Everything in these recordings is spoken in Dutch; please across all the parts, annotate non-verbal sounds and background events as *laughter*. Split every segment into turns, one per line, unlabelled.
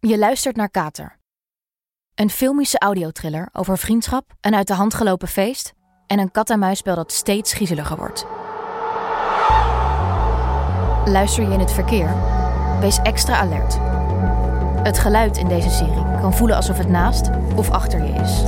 Je luistert naar Kater. Een filmische audiotriller over vriendschap, een uit de hand gelopen feest en een kat-en-muisspel dat steeds griezeliger wordt. Luister je in het verkeer? Wees extra alert. Het geluid in deze serie kan voelen alsof het naast of achter je is.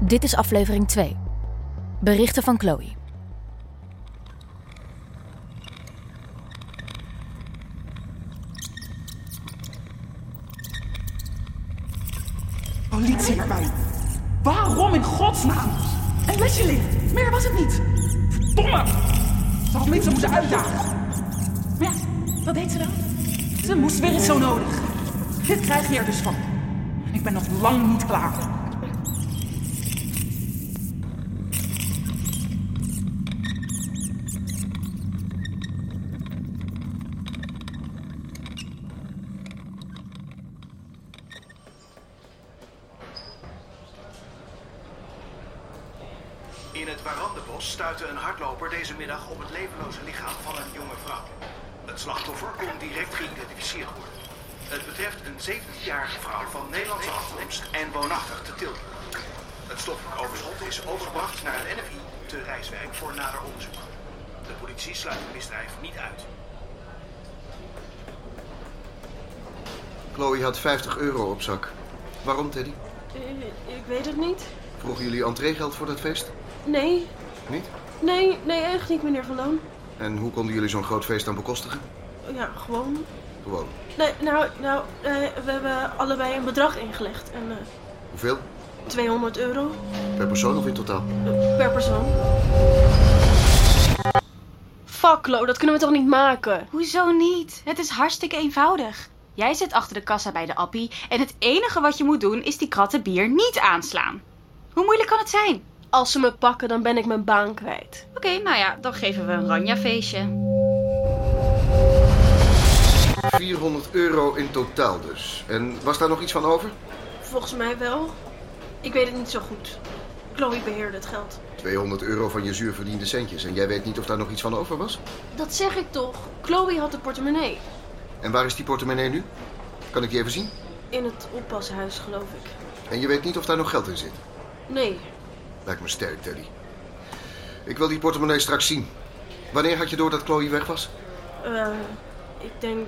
Dit is aflevering 2. Berichten van Chloe.
Politie erbij. Waarom in godsnaam? En Leslie, meer was het niet. Verdomme! Ze had mensen moeten uitdagen. Maar ja, wat deed ze dan? Ze moest weer eens zo nodig. Dit krijg je er dus van. En ik ben nog lang niet klaar.
In het Warandenbos stuitte een hardloper deze middag op het levenloze lichaam van een jonge vrouw. Het slachtoffer kon direct geïdentificeerd worden. Het betreft een 17-jarige vrouw van Nederlandse afkomst en woonachtig te Tilburg. Het stoffelijk overschot is overgebracht naar het NFI te Rijswijk voor nader onderzoek. De politie sluit het misdrijf niet uit.
Chloe had 50 euro op zak. Waarom, Teddy?
Eh, Ik weet het niet.
Vroegen jullie entreegeld voor dat feest?
Nee,
Niet?
nee, nee, echt niet, meneer Van Loon. Oh,
En hoe konden jullie zo'n groot feest dan bekostigen?
Ja, gewoon.
Gewoon.
Nee, nou, nou eh, we hebben allebei een bedrag ingelegd. En eh,
Hoeveel?
200 euro
Per persoon of in totaal?
eh, per persoon. Fuck, Lo, dat kunnen we toch niet maken?
Hoezo niet? Het is hartstikke eenvoudig. Jij zit achter de kassa bij de appie en het enige wat je moet doen is die kratten bier niet aanslaan. Hoe moeilijk kan het zijn?
Als ze me pakken, dan ben ik mijn baan kwijt.
Oké, nou ja, dan geven we een Ranja-feestje.
400 euro in totaal dus. En was daar nog iets van over?
Volgens mij wel. Ik weet het niet zo goed. Chloe beheerde het geld.
200 euro van je zuurverdiende centjes. En jij weet niet of daar nog iets van over was?
Dat zeg ik toch. Chloe had de portemonnee.
En waar is die portemonnee nu? Kan ik die even zien?
In het oppashuis, geloof ik.
En je weet niet of daar nog geld in zit?
Nee,
Lijkt me sterk, Teddy. Ik wil die portemonnee straks zien. Wanneer had je door dat Chloe weg was?
Eh, ik denk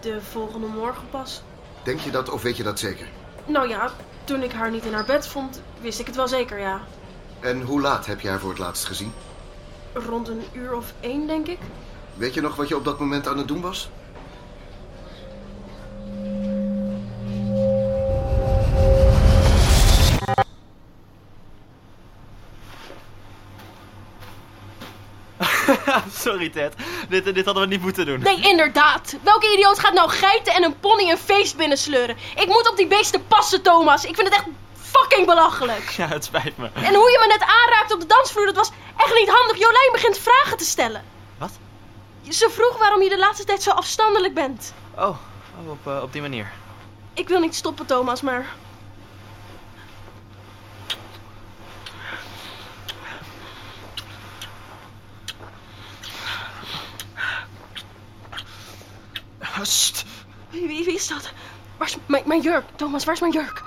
de volgende morgen pas.
Denk je dat of weet je dat zeker?
Nou ja, toen ik haar niet in haar bed vond, wist ik het wel zeker, ja.
En hoe laat heb je haar voor het laatst gezien?
Rond een uur of één, denk ik.
Weet je nog wat je op dat moment aan het doen was?
*laughs* Sorry Ted, dit, dit hadden we niet moeten doen. *laughs*
Nee, inderdaad. Welke idioot gaat nou geiten en een pony een feest binnensleuren? Ik moet op die beesten passen, Thomas. Ik vind het echt fucking belachelijk.
Ja, het spijt me.
En hoe je me net aanraakte op de dansvloer, dat was echt niet handig. Jolijn begint vragen te stellen.
Wat?
Ze vroeg waarom je de laatste tijd zo afstandelijk bent.
Oh, oh, op, eh, op die manier.
Ik wil niet stoppen, Thomas, maar...
Sst.
Wie, wie, wie is dat? Waar is mijn, mijn jurk? Thomas, waar is mijn jurk?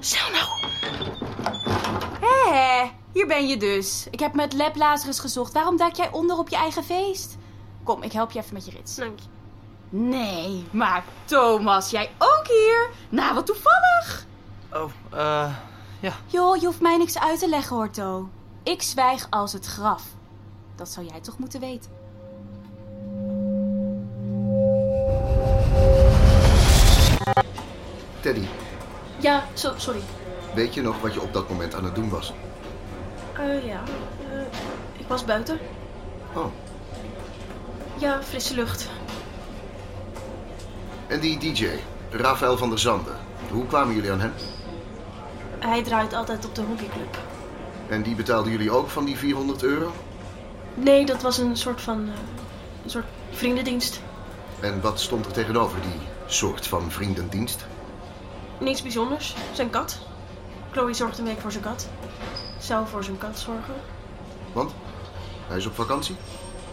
Snel nou.
Hé, hé, hier ben je dus. Ik heb met Lab Lazarus gezocht. Waarom duik jij onder op je eigen feest? Kom, ik help je even met je rits.
Dank je.
Nee, maar Thomas, jij ook hier? Nou, wat toevallig.
Oh, eh.
Joh, je hoeft mij niks uit te leggen hoor, To. Ik zwijg als het graf. Dat zou jij toch moeten weten.
Teddy,
Ja, so- sorry.
weet je nog wat je op dat moment aan het doen was?
Eh, ja. Eh, ik was buiten.
Oh.
Ja, frisse lucht.
En die DJ, Rafael van der Zanden. Hoe kwamen jullie aan hem?
Hij draait altijd op de hockeyclub.
En die betaalden jullie ook van die 400 euro?
Nee, dat was een soort van. eh, een soort vriendendienst.
En wat stond er tegenover die soort van vriendendienst?
Niets bijzonders. Zijn kat. Chloe zorgt een week voor zijn kat. Zou voor zijn kat zorgen.
Want hij is op vakantie?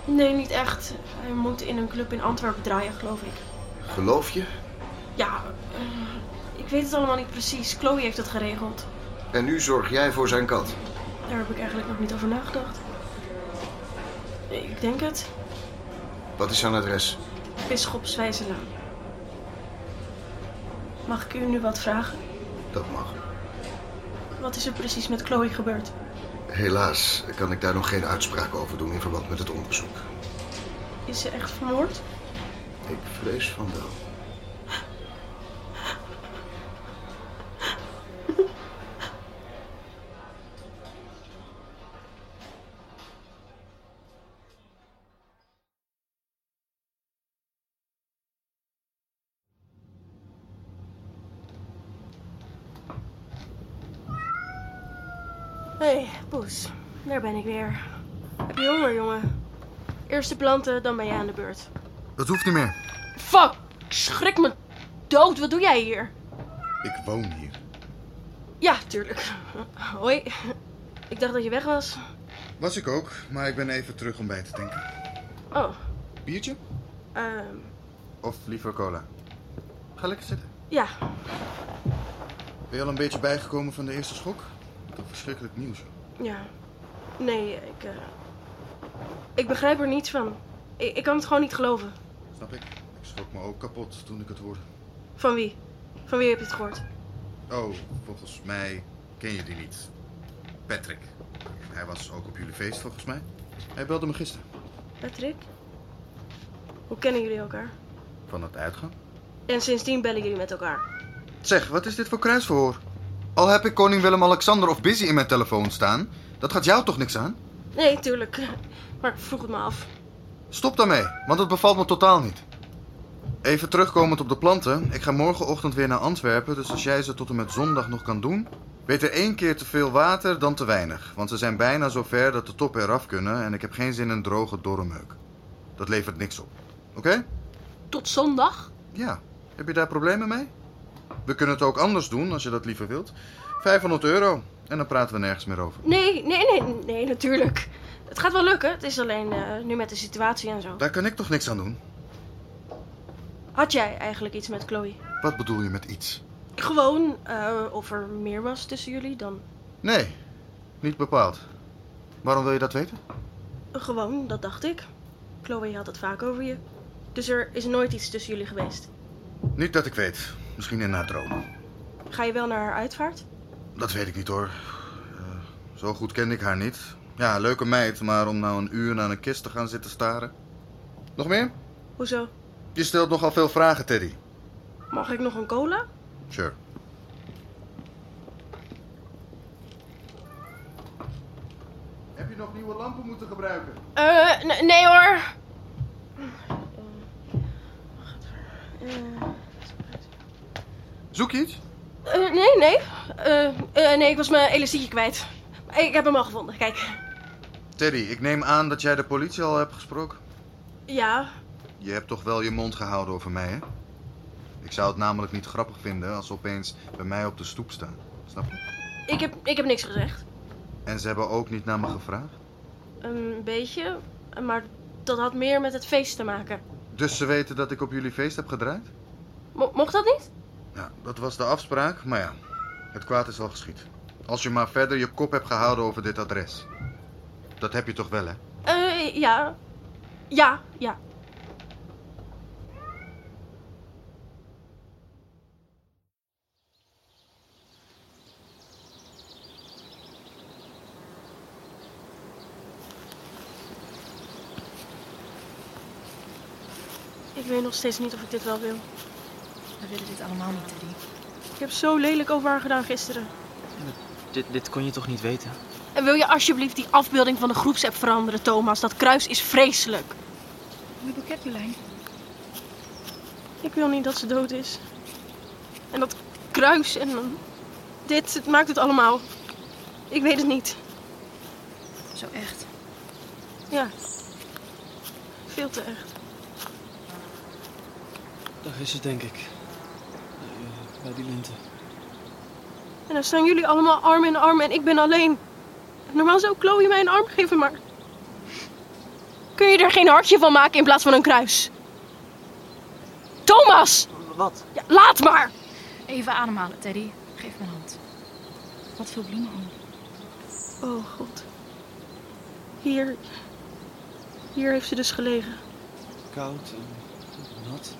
Nee, niet echt. Hij moet in een club in Antwerpen draaien, geloof ik.
Geloof je?
Ja, eh, ik weet het allemaal niet precies. Chloe heeft het geregeld.
En nu zorg jij voor zijn kat.
Daar heb ik eigenlijk nog niet over nagedacht. Ik denk het.
Wat is zijn adres?
Bisschopswijzelaan. Mag ik u nu wat vragen?
Dat mag.
Wat is er precies met Chloe gebeurd?
Helaas kan ik daar nog geen uitspraak over doen in verband met het onderzoek.
Is ze echt vermoord?
Ik vrees van wel.
Hé, hey, Poes. Daar ben ik weer. Heb je honger, jongen? Eerst de planten, dan ben jij aan de beurt.
Dat hoeft niet meer.
Fuck! Schrik me dood. Wat doe jij hier?
Ik woon hier.
Ja, tuurlijk. Hoi. Ik dacht dat je weg was.
Was ik ook, maar ik ben even terug om bij te denken.
Oh,
Biertje?
ehm...
Of liever cola? Ga lekker zitten.
Ja,
Ben je al een beetje bijgekomen van de eerste schok? Toch verschrikkelijk nieuws.
ja. Nee, ik. eh, ik begrijp er niets van. Ik, ik kan het gewoon niet geloven.
Snap ik. Ik schrok me ook kapot toen ik het hoorde.
Van wie? Van wie heb je het gehoord?
Oh, volgens mij ken je die niet. Patrick. Hij was ook op jullie feest volgens mij. Hij belde me gisteren.
Patrick? Hoe kennen jullie elkaar?
Van het uitgaan?
En sindsdien bellen jullie met elkaar.
Zeg, wat is dit voor kruisverhoor? Al heb ik koning Willem-Alexander of Busy in mijn telefoon staan, dat gaat jou toch niks aan?
Nee, tuurlijk. Maar ik vroeg het me af.
Stop daarmee, want het bevalt me totaal niet. Even terugkomend op de planten. Ik ga morgenochtend weer naar Antwerpen, dus als jij ze tot en met zondag nog kan doen... Beter één keer te veel water dan te weinig, want ze zijn bijna zo ver dat de toppen eraf kunnen en ik heb geen zin in een droge dorre meuk. Dat levert niks op. Oké?
Tot zondag?
Ja. Heb je daar problemen mee? We kunnen het ook anders doen, als je dat liever wilt. 500 euro. En dan praten we nergens meer over.
Nee, nee, nee, nee, natuurlijk. Het gaat wel lukken. Het is alleen eh, nu met de situatie en zo.
Daar kan ik toch niks aan doen?
Had jij eigenlijk iets met Chloe?
Wat bedoel je met iets?
Gewoon eh, of er meer was tussen jullie dan
Nee, niet bepaald. Waarom wil je dat weten?
Gewoon, dat dacht ik. Chloe had het vaak over je. Dus er is nooit iets tussen jullie geweest.
Niet dat ik weet. Misschien in haar droom.
Ga je wel naar haar uitvaart?
Dat weet ik niet hoor. Eh, zo goed kende ik haar niet. Ja, leuke meid, maar om nou een uur naar een kist te gaan zitten staren. Nog meer?
Hoezo?
Je stelt nogal veel vragen, Teddy.
Mag ik nog een cola?
Sure. Heb je nog nieuwe lampen moeten gebruiken?
Eh, n- nee hoor.
Zoek je iets?
Eh, nee, nee. Eh, eh, nee, ik was mijn elastiekje kwijt. Ik heb hem al gevonden, kijk.
Teddy, ik neem aan dat jij de politie al hebt gesproken.
Ja,
Je hebt toch wel je mond gehouden over mij, hè? Ik zou het namelijk niet grappig vinden als ze opeens bij mij op de stoep staan. Snap je?
ik heb, ik heb niks gezegd.
En ze hebben ook niet naar me gevraagd.
Een beetje, maar dat had meer met het feest te maken.
Dus ze weten dat ik op jullie feest heb gedraaid?
Mo- mocht dat niet?
Ja, dat was de afspraak, maar ja, het kwaad is al geschied. Als je maar verder je kop hebt gehouden over dit adres. Dat heb je toch wel, hè?
Eh, ja. Ja, ja. Ik weet nog steeds niet of ik dit wel wil.
We willen dit allemaal niet, Teddy.
Ik heb zo lelijk over haar gedaan gisteren.
Dit, dit kon je toch niet weten?
Eh, En wil je alsjeblieft die afbeelding van de groepsapp veranderen, Thomas? Dat kruis is vreselijk.
Wat doe ik, Jolijn?
Ik wil niet dat ze dood is. En dat kruis en dan dit, het maakt het allemaal. Ik weet het niet.
Zo echt.
Ja. Veel te echt.
Daar is het, denk ik. Eh, bij die linten.
En dan staan jullie allemaal arm in arm en ik ben alleen. Normaal zou Chloe mij een arm geven, maar... Kun je er geen hartje van maken in plaats van een kruis? Thomas!
Wat?
Ja, laat maar!
Even ademhalen, Teddy. Geef me een hand. Wat veel bloemen om.
Oh god. Hier... Hier heeft ze dus gelegen.
Koud en nat.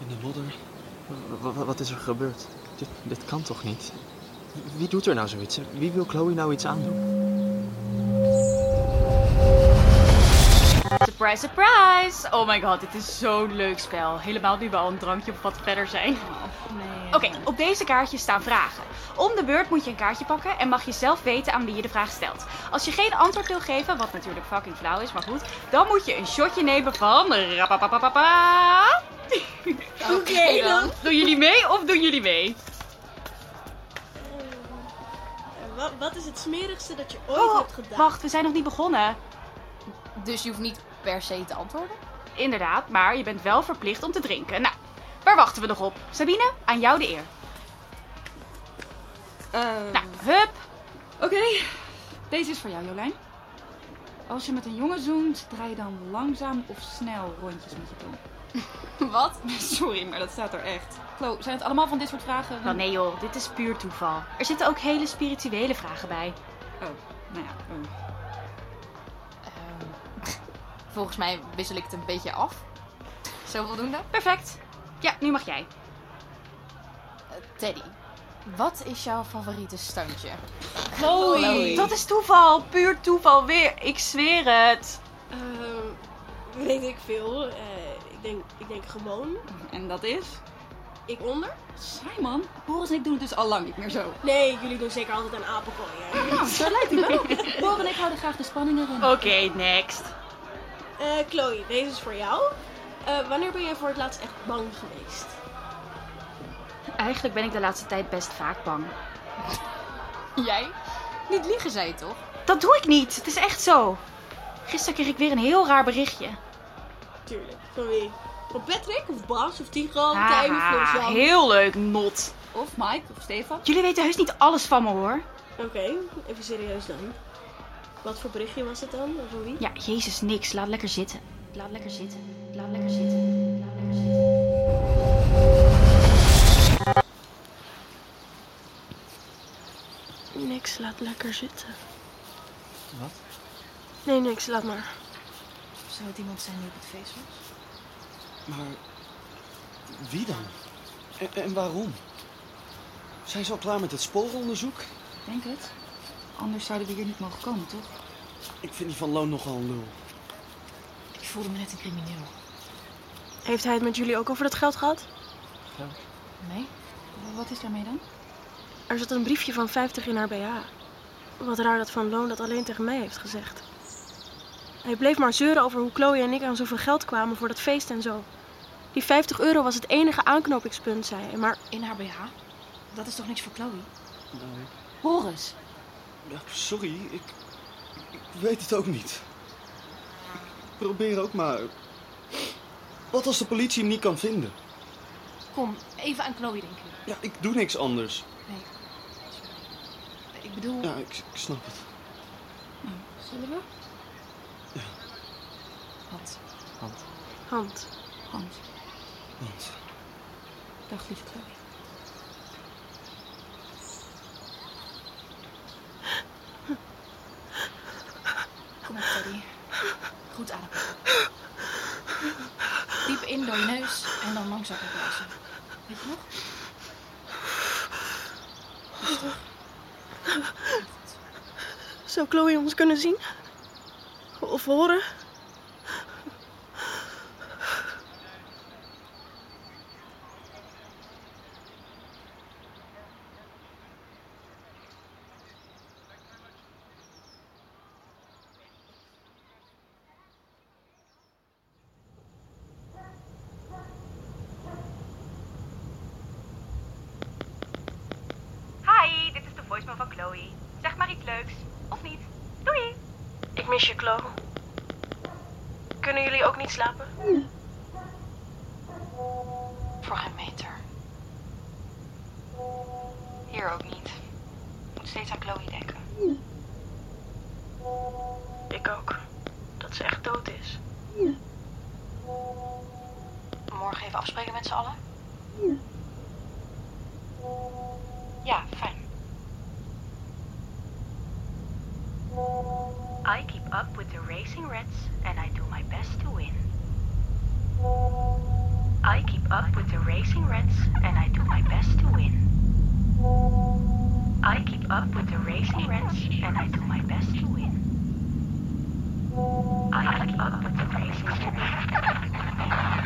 In de modder. Wat is er gebeurd? Dit, dit kan toch niet? Wie doet er nou zoiets? hè? Wie wil Chloe nou iets aandoen?
Surprise, surprise! Oh my god, dit is zo'n leuk spel. Helemaal nu we al een drankje op wat verder zijn. Oké, op deze kaartjes staan vragen. Om de beurt moet je een kaartje pakken en mag je zelf weten aan wie je de vraag stelt. Als je geen antwoord wil geven, wat natuurlijk fucking flauw is, maar goed, dan moet je een shotje nemen van. rapapapapa. Oké dan. Doen jullie mee of doen jullie mee?
Wat, is het smerigste dat je ooit
Oh, wacht, we zijn nog niet begonnen.
Dus je hoeft niet per se te antwoorden?
Inderdaad, maar je bent wel verplicht om te drinken. Nou, waar wachten we nog op? Sabine, aan jou de eer. Nou, hup.
Oké,
Deze is voor jou, Jolijn. Als je met een jongen zoent, draai dan langzaam of snel rondjes met je tong.
*laughs* wat?
Sorry, maar dat staat er echt.
Chloe, zijn het allemaal van dit soort vragen?
Wel Nou, nee joh, dit is puur toeval. Er zitten ook hele spirituele vragen bij.
Nou ja, Volgens mij wissel ik het een beetje af. Zo voldoende.
Perfect. Ja, nu mag jij.
Eh, Teddy, wat is jouw favoriete standje?
Oei. Dat is toeval, puur toeval weer. Ik zweer het.
Ehm, weet ik veel. Eh, ik, denk, ik denk gewoon.
En dat is?
Ik onder?
Simon, Boris en ik doen het dus al lang niet meer zo.
Nee, jullie doen zeker altijd aan apenkooien.
Nou, zo lijkt het
*laughs*
wel. Boris en ik houden graag de spanningen in.
Oké, next.
Eh, Chloe, deze is voor jou. Eh, wanneer ben jij voor het laatst echt bang geweest?
Eigenlijk ben ik de laatste tijd best vaak bang.
Jij? Niet liegen zei je toch?
Dat doe ik niet. Het is echt zo. Gisteren kreeg ik weer een heel raar berichtje.
Tuurlijk. Van wie? Van Patrick of Bas of Tigran, Tijmen,
Haha,
Florian?
Ah, heel leuk, not.
Of Mike of Stefan?
Jullie weten heus niet alles van me hoor.
Oké, even serieus dan. Wat voor berichtje was het dan? En Van wie?
Ja, jezus, niks. Laat lekker zitten. Laat lekker zitten. Laat lekker zitten. Laat lekker zitten.
Niks, laat lekker zitten.
Wat?
Nee, niks, laat maar.
Zou het iemand zijn die op het feest was?
Maar wie dan? En, en waarom? Zijn ze al klaar met het sporenonderzoek?
Denk het. Anders zouden we hier niet mogen komen, toch?
Ik vind die van Loon nogal een lul.
Ik voelde me net een crimineel.
Heeft hij het met jullie ook over dat geld gehad?
Nee? Wat is daarmee dan?
Er zat een briefje van 50 in haar BH. Wat raar dat Van Loon dat alleen tegen mij heeft gezegd. Hij bleef maar zeuren over hoe Chloe en ik aan zoveel geld kwamen voor dat feest en zo. Die 50 euro was het enige aanknopingspunt, zei hij. Maar
In haar BH? Dat is toch niks voor Chloe?
Nou,
Boris.
ja, sorry, ik, ik weet het ook niet. Ik probeer ook maar. Wat als de politie hem niet kan vinden?
Kom, even aan Chloe denken.
Ja, ik doe niks anders.
Ik bedoel,
Ja, ik, ik snap het.
zullen we? Wat?
Hand,
Hans,
Want
dag lieve Chloe.
Kom op, Teddy. Goed ademen. Diep in door je neus en dan langzaam opblazen. Weet je nog?
zou Chloe ons kunnen zien? Of horen?
Chloe. Zeg maar iets leuks. Of niet? Doei!
Ik mis je, Chloe. Kunnen jullie ook niet slapen?
Voor geen meter. Hier ook niet. Moet steeds aan Chloe denken.
Ik ook. Dat ze echt dood is.
Morgen even afspreken met z'n allen? Ja, fijn.
I keep up with the racing reds and I do my best to win. I keep up with the racing reds and I do my best to win. I keep up with the racing reds and I do my best to win. I keep up with the racing reds.